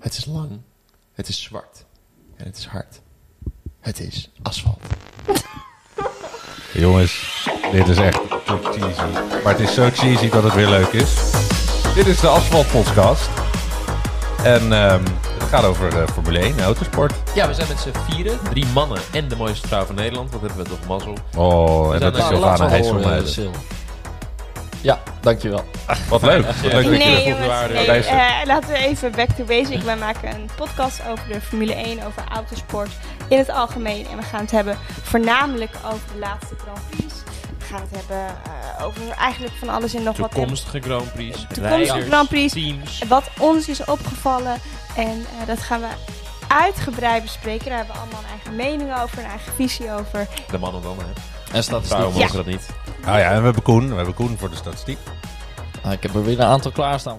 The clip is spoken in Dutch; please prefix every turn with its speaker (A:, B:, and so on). A: Het is lang. Het is zwart. En het is hard. Het is asfalt.
B: Jongens, dit is echt zo cheesy. Maar het is zo cheesy dat het weer leuk is. Dit is de Asfalt Podcast. En ehm, het gaat over eh, Formule 1, autosport.
C: Ja, we zijn met z'n vieren. Drie mannen en de mooiste vrouw van Nederland. Wat hebben we toch mazzel.
B: Oh, en dat
C: zijn
B: is
C: er al
B: Sylvana
A: horen,
B: IJsselmuiden.
A: Sil. Ja, dankjewel.
B: Wat leuk. Wat leuk dat je er
D: Nee,
B: goed
D: jongens,
B: waren.
D: nee,
B: Luister.
D: eh, laten we even back to basic. Wij maken een podcast over de Formule 1, over autosport in het algemeen. En we gaan het hebben voornamelijk over de laatste Grand Prix. We gaan het hebben eh, over eigenlijk van alles en nog wat.
C: Toekomstige Grand Prix.
D: Toekomstige
C: rijders,
D: Grand Prix.
C: Teams.
D: Wat ons is opgevallen en eh, dat gaan we uitgebreid bespreken. Daar hebben we allemaal een eigen mening over, een eigen visie over.
C: De mannen dan, hè.
A: En
C: Vrouwen
A: statistiek.
D: Ja.
C: mogen dat niet.
B: Ah ja, en we hebben Koen. We hebben Koen voor de statistiek.
A: Ah, ik heb er weer een aantal klaarstaan.